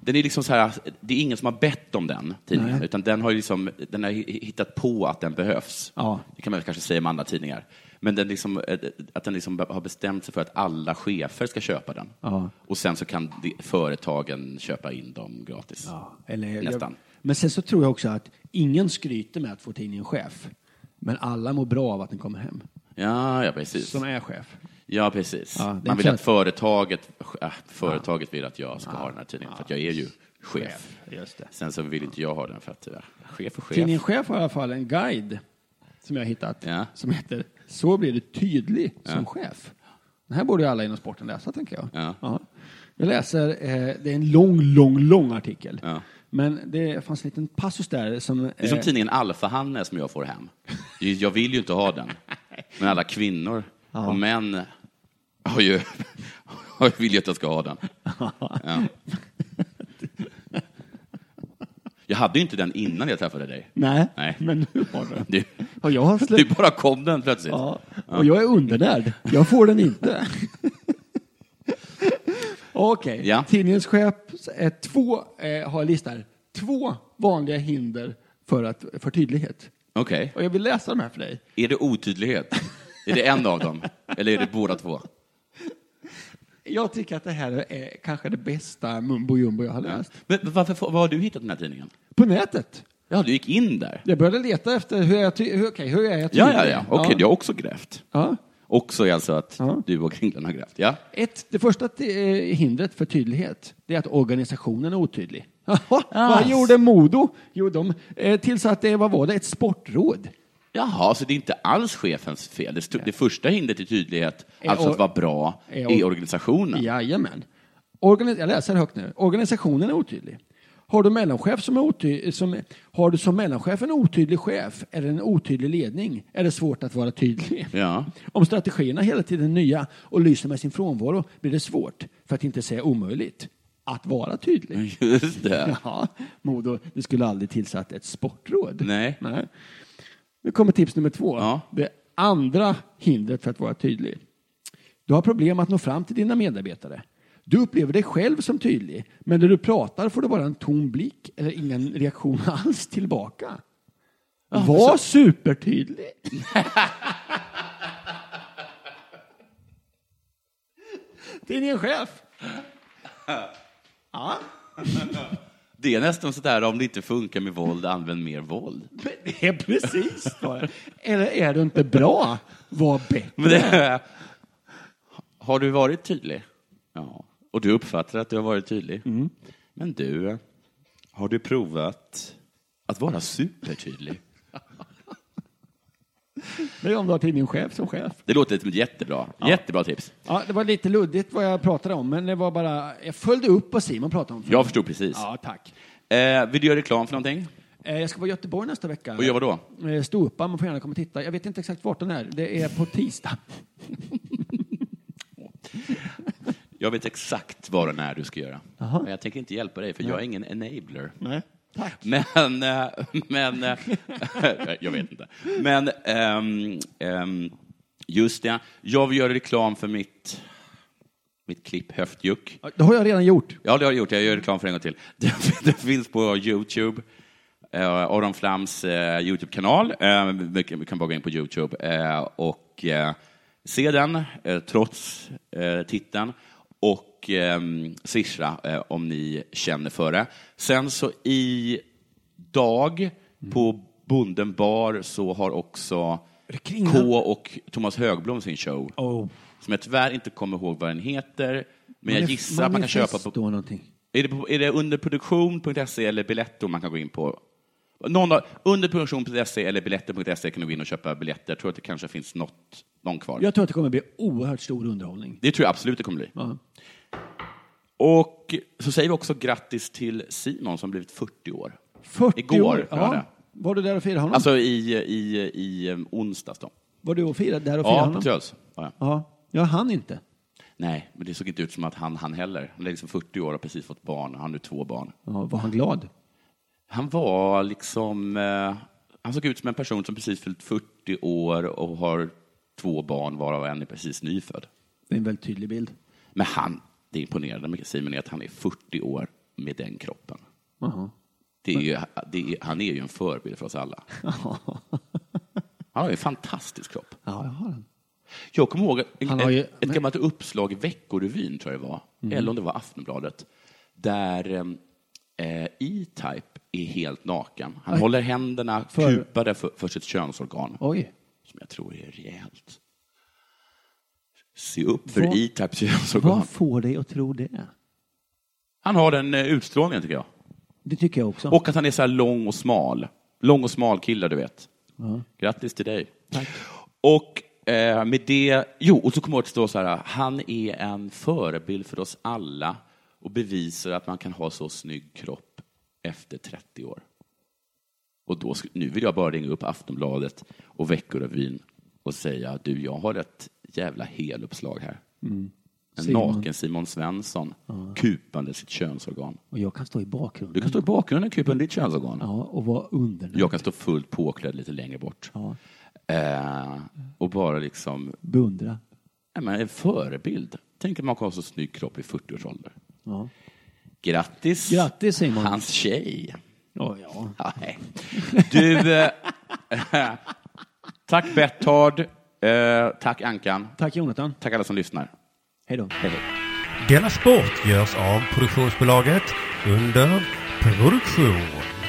Speaker 3: Den är liksom så här, det är ingen som har bett om den tidningen,
Speaker 4: Nej.
Speaker 3: utan den har, ju liksom, den har hi- hittat på att den behövs.
Speaker 4: Ja.
Speaker 3: Det kan man väl kanske säga om andra tidningar. Men den liksom, eh, att den liksom har bestämt sig för att alla chefer ska köpa den.
Speaker 4: Ja.
Speaker 3: Och sen så kan de, företagen köpa in dem gratis.
Speaker 4: Eller,
Speaker 3: Nästan.
Speaker 4: men sen så tror jag också att ingen skryter med att få tidningen Chef. Men alla mår bra av att den kommer hem.
Speaker 3: Ja, ja, precis.
Speaker 4: Som är chef.
Speaker 3: Ja, precis.
Speaker 4: Ja, det är
Speaker 3: Man vill
Speaker 4: klart.
Speaker 3: att företaget, äh, företaget vill att jag ska ha den här tidningen, för att jag är ju chef.
Speaker 4: Just det.
Speaker 3: Sen så vill inte jag ha den för att, ja, chef och chef.
Speaker 4: Tidningen Chef har i alla fall en guide som jag har hittat
Speaker 3: Ja.
Speaker 4: som heter Så blir du tydlig som chef. Den här borde ju alla inom sporten läsa, tänker jag.
Speaker 3: Ja.
Speaker 4: Jag läser, eh, det är en lång, lång, lång artikel.
Speaker 3: Ja.
Speaker 4: Men det fanns en liten passus där som... eh,
Speaker 3: Det är som tidningen Alfa-Hanne som jag får hem. Jag vill ju inte ha den. Men alla kvinnor och män har ju, har- vill ju att jag ska ha den. Ja. Jag hade ju inte den innan jag träffade dig.
Speaker 4: nej,
Speaker 3: Nej.
Speaker 4: men nu har du den.
Speaker 3: Du,
Speaker 4: Och jag har släppt...
Speaker 3: du bara kom den plötsligt.
Speaker 4: Ja, och jag är undernärd. Jag får den inte. Okej,
Speaker 3: Ja.
Speaker 4: tidningens chef eh, två, eh, har listar två vanliga hinder för, att, för tydlighet.
Speaker 3: Okej.
Speaker 4: Och jag vill läsa de här för dig.
Speaker 3: Är det otydlighet? är det en av dem? Eller är det båda två?
Speaker 4: Jag tycker att det här är kanske det bästa mumbo jumbo jag har läst.
Speaker 3: Men varför, får- var har du hittat den här tidningen?
Speaker 4: På nätet.
Speaker 3: Ja, du gick in där.
Speaker 4: Jag började leta efter hur jag, ty- hur, okej, hur är jag
Speaker 3: Ja,
Speaker 4: tydlig.
Speaker 3: ja, ja. Okej, du har också grävt.
Speaker 4: Ja.
Speaker 3: Också är alltså att
Speaker 4: Ja.
Speaker 3: du och Kringlan har grävt. Ja.
Speaker 4: Ett, det första t- eh, hindret för tydlighet det är att organisationen är otydlig. Jaha, Vad gjorde Modo? Jo, de eh, tillsatte, vad var det, ett sportråd.
Speaker 3: Jaha, så det är inte alls chefens fel. Det, sto- det första hindret till tydlighet, alltså
Speaker 4: or-
Speaker 3: att vara bra,
Speaker 4: är
Speaker 3: i
Speaker 4: or-
Speaker 3: organisationen.
Speaker 4: Jajamän. Organi- jag läser högt nu. Organisationen är otydlig. Har du, mellanchef som är oty- som, har du som mellanchef en otydlig chef eller en otydlig ledning är det svårt att vara tydlig.
Speaker 3: Ja.
Speaker 4: Om strategierna hela tiden är nya och lyser med sin frånvaro blir det svårt, för att inte säga omöjligt, att vara tydlig.
Speaker 3: Just det.
Speaker 4: Ja, Modo, du skulle aldrig tillsatt ett sportråd.
Speaker 3: Nej.
Speaker 4: Nu kommer tips nummer två.
Speaker 3: Ja.
Speaker 4: Det andra hindret för att vara tydlig. Du har problem att nå fram till dina medarbetare. Du upplever dig själv som tydlig, men när du pratar får du bara en tom blick eller ingen reaktion alls tillbaka. Var supertydlig. Tidningen Chef.
Speaker 3: Det är nästan sådär, om det inte funkar med våld, använd mer våld.
Speaker 4: Men Det är precis vad Eller är du inte bra? Var bättre.
Speaker 3: Men det, har du varit tydlig? Mm. Ja. Och du uppfattar att du har varit tydlig? Men du, har du provat att vara supertydlig?
Speaker 4: Det är om du har tidningen Chef som chef.
Speaker 3: Det låter som ett jättebra, jättebra tips.
Speaker 4: Ja, det var lite luddigt vad jag pratade om, men det var bara... Jag följde upp vad Simon pratade om.
Speaker 3: Jag förstod precis.
Speaker 4: Ja, tack.
Speaker 3: Eh, vill du göra reklam för någonting?
Speaker 4: Eh, Jag ska vara i Göteborg nästa vecka.
Speaker 3: Och gör vad då?
Speaker 4: Eh, Ståuppa, man får gärna komma och titta. Jag vet inte exakt vart den är. Det är på tisdag.
Speaker 3: Jag vet exakt vad och när du ska göra. Men jag tänker inte hjälpa dig, för jag är ingen enabler.
Speaker 4: Nej. Tack.
Speaker 3: Men, eh, men eh, jag vet inte. Men ehm, ehm, just det, jag vill göra reklam för mitt, mitt klipp Höftjuck.
Speaker 4: Ja, Det har jag redan gjort.
Speaker 3: Ja, det har jag gjort. Jag gör reklam för en gång till. Det, det finns på Youtube. Eh, Aron Flams eh, Youtube-kanal. Eh, vi kan- vi kan bara gå in på Youtube eh, och eh, se den, eh, trots eh, titeln. Och eh, swisha eh, om ni känner för det. Sen så i dag på Bonden bar så har också
Speaker 4: Kringlan-
Speaker 3: K och Thomas Högblom sin show.
Speaker 4: Oh.
Speaker 3: Som jag tyvärr inte kommer ihåg vad den heter. Men jag gissar att man kan köpa på
Speaker 4: Manifest då någonting.
Speaker 3: E är det, på- är det underproduktion.se eller Biletto man kan gå in på? Någon har, under produktion.se E eller biljetter.se kan du gå in och köpa biljetter. Jag tror att det kanske finns något, någon kvar.
Speaker 4: Jag tror att det kommer bli oerhört stor underhållning.
Speaker 3: Det tror jag absolut det kommer bli.
Speaker 4: Ja.
Speaker 3: Och så säger vi också grattis till Simon som blivit 40 år.
Speaker 4: 40
Speaker 3: Igår
Speaker 4: år.
Speaker 3: var jag där.
Speaker 4: Var du där och firade honom?
Speaker 3: Alltså i, i, i um, onsdags då.
Speaker 4: var du och firade, där och firade
Speaker 3: Ja, på
Speaker 4: honom?
Speaker 3: Tröls. Ja. ja.
Speaker 4: Ja, jag hann inte.
Speaker 3: Nej, men det såg inte ut som att han han heller. Han är liksom 40 år och har precis fått barn. Han har nu två barn.
Speaker 4: Ja, var han glad?
Speaker 3: Han var liksom... Eh, han såg ut som en person som precis fyllt 40 år och har två barn varav en är precis nyfödd.
Speaker 4: Det är en väldigt tydlig bild.
Speaker 3: Men han, det imponerande med Simon är att han är 40 år med den kroppen.
Speaker 4: Jaha.
Speaker 3: Det är ju, det är, han är ju en förebild för oss alla. Han har ju en fantastisk kropp.
Speaker 4: Ja, jag har den.
Speaker 3: Jag kommer ihåg en,
Speaker 4: Han har ju- Mm.
Speaker 3: ett, ett gammalt uppslag i Veckorevyn, tror jag det var, eller om det var Aftonbladet, där em, eh, E-Type är helt naken. Han håller händerna
Speaker 4: För-
Speaker 3: kupade för, för sitt könsorgan,
Speaker 4: Oj.
Speaker 3: som jag tror är rejält. Se upp för
Speaker 4: Vad-
Speaker 3: E-Types könsorgan.
Speaker 4: Vad får dig att tro det?
Speaker 3: Han har den eh, utstrålningen, tycker jag.
Speaker 4: Det tycker jag också.
Speaker 3: Och att han är så här lång och smal. Lång och smal kille, du vet. Grattis till dig. Och eh, med det, jo, och så kommer jag ihåg att stå så här, han är en förebild för oss alla och bevisar att man kan ha så snygg kropp efter 30 år. Och då, sk- nu vill jag bara ringa upp Aftonbladet och Veckorevyn och säga, du, jag har ett jävla heluppslag här. En
Speaker 4: Mm. Simon.
Speaker 3: naken Simon Svensson, kupande sitt könsorgan.
Speaker 4: Och jag kan stå i
Speaker 3: Du
Speaker 4: bakgrunden.
Speaker 3: kan stå i bakgrunden och kupa ditt könsorgan.
Speaker 4: Ja, och vara under.
Speaker 3: Jag kan stå fullt påklädd lite längre bort.
Speaker 4: Ja.
Speaker 3: Eh, och bara liksom,
Speaker 4: Beundra.
Speaker 3: nej, men en förebild. Tänk att man kan ha så snygg kropp i 40 års ålder.
Speaker 4: Ja.
Speaker 3: Grattis,
Speaker 4: Grattis, Simon.
Speaker 3: hans tjej.
Speaker 4: Ja, ja.
Speaker 3: Ja, nej. Du, eh, tack Berthard. Eh, tack Ankan.
Speaker 4: Tack Jonathan.
Speaker 3: Tack alla som lyssnar.
Speaker 4: Hej då.
Speaker 3: Hej, hej.
Speaker 6: Denna sport görs av produktionsbolaget under produktion.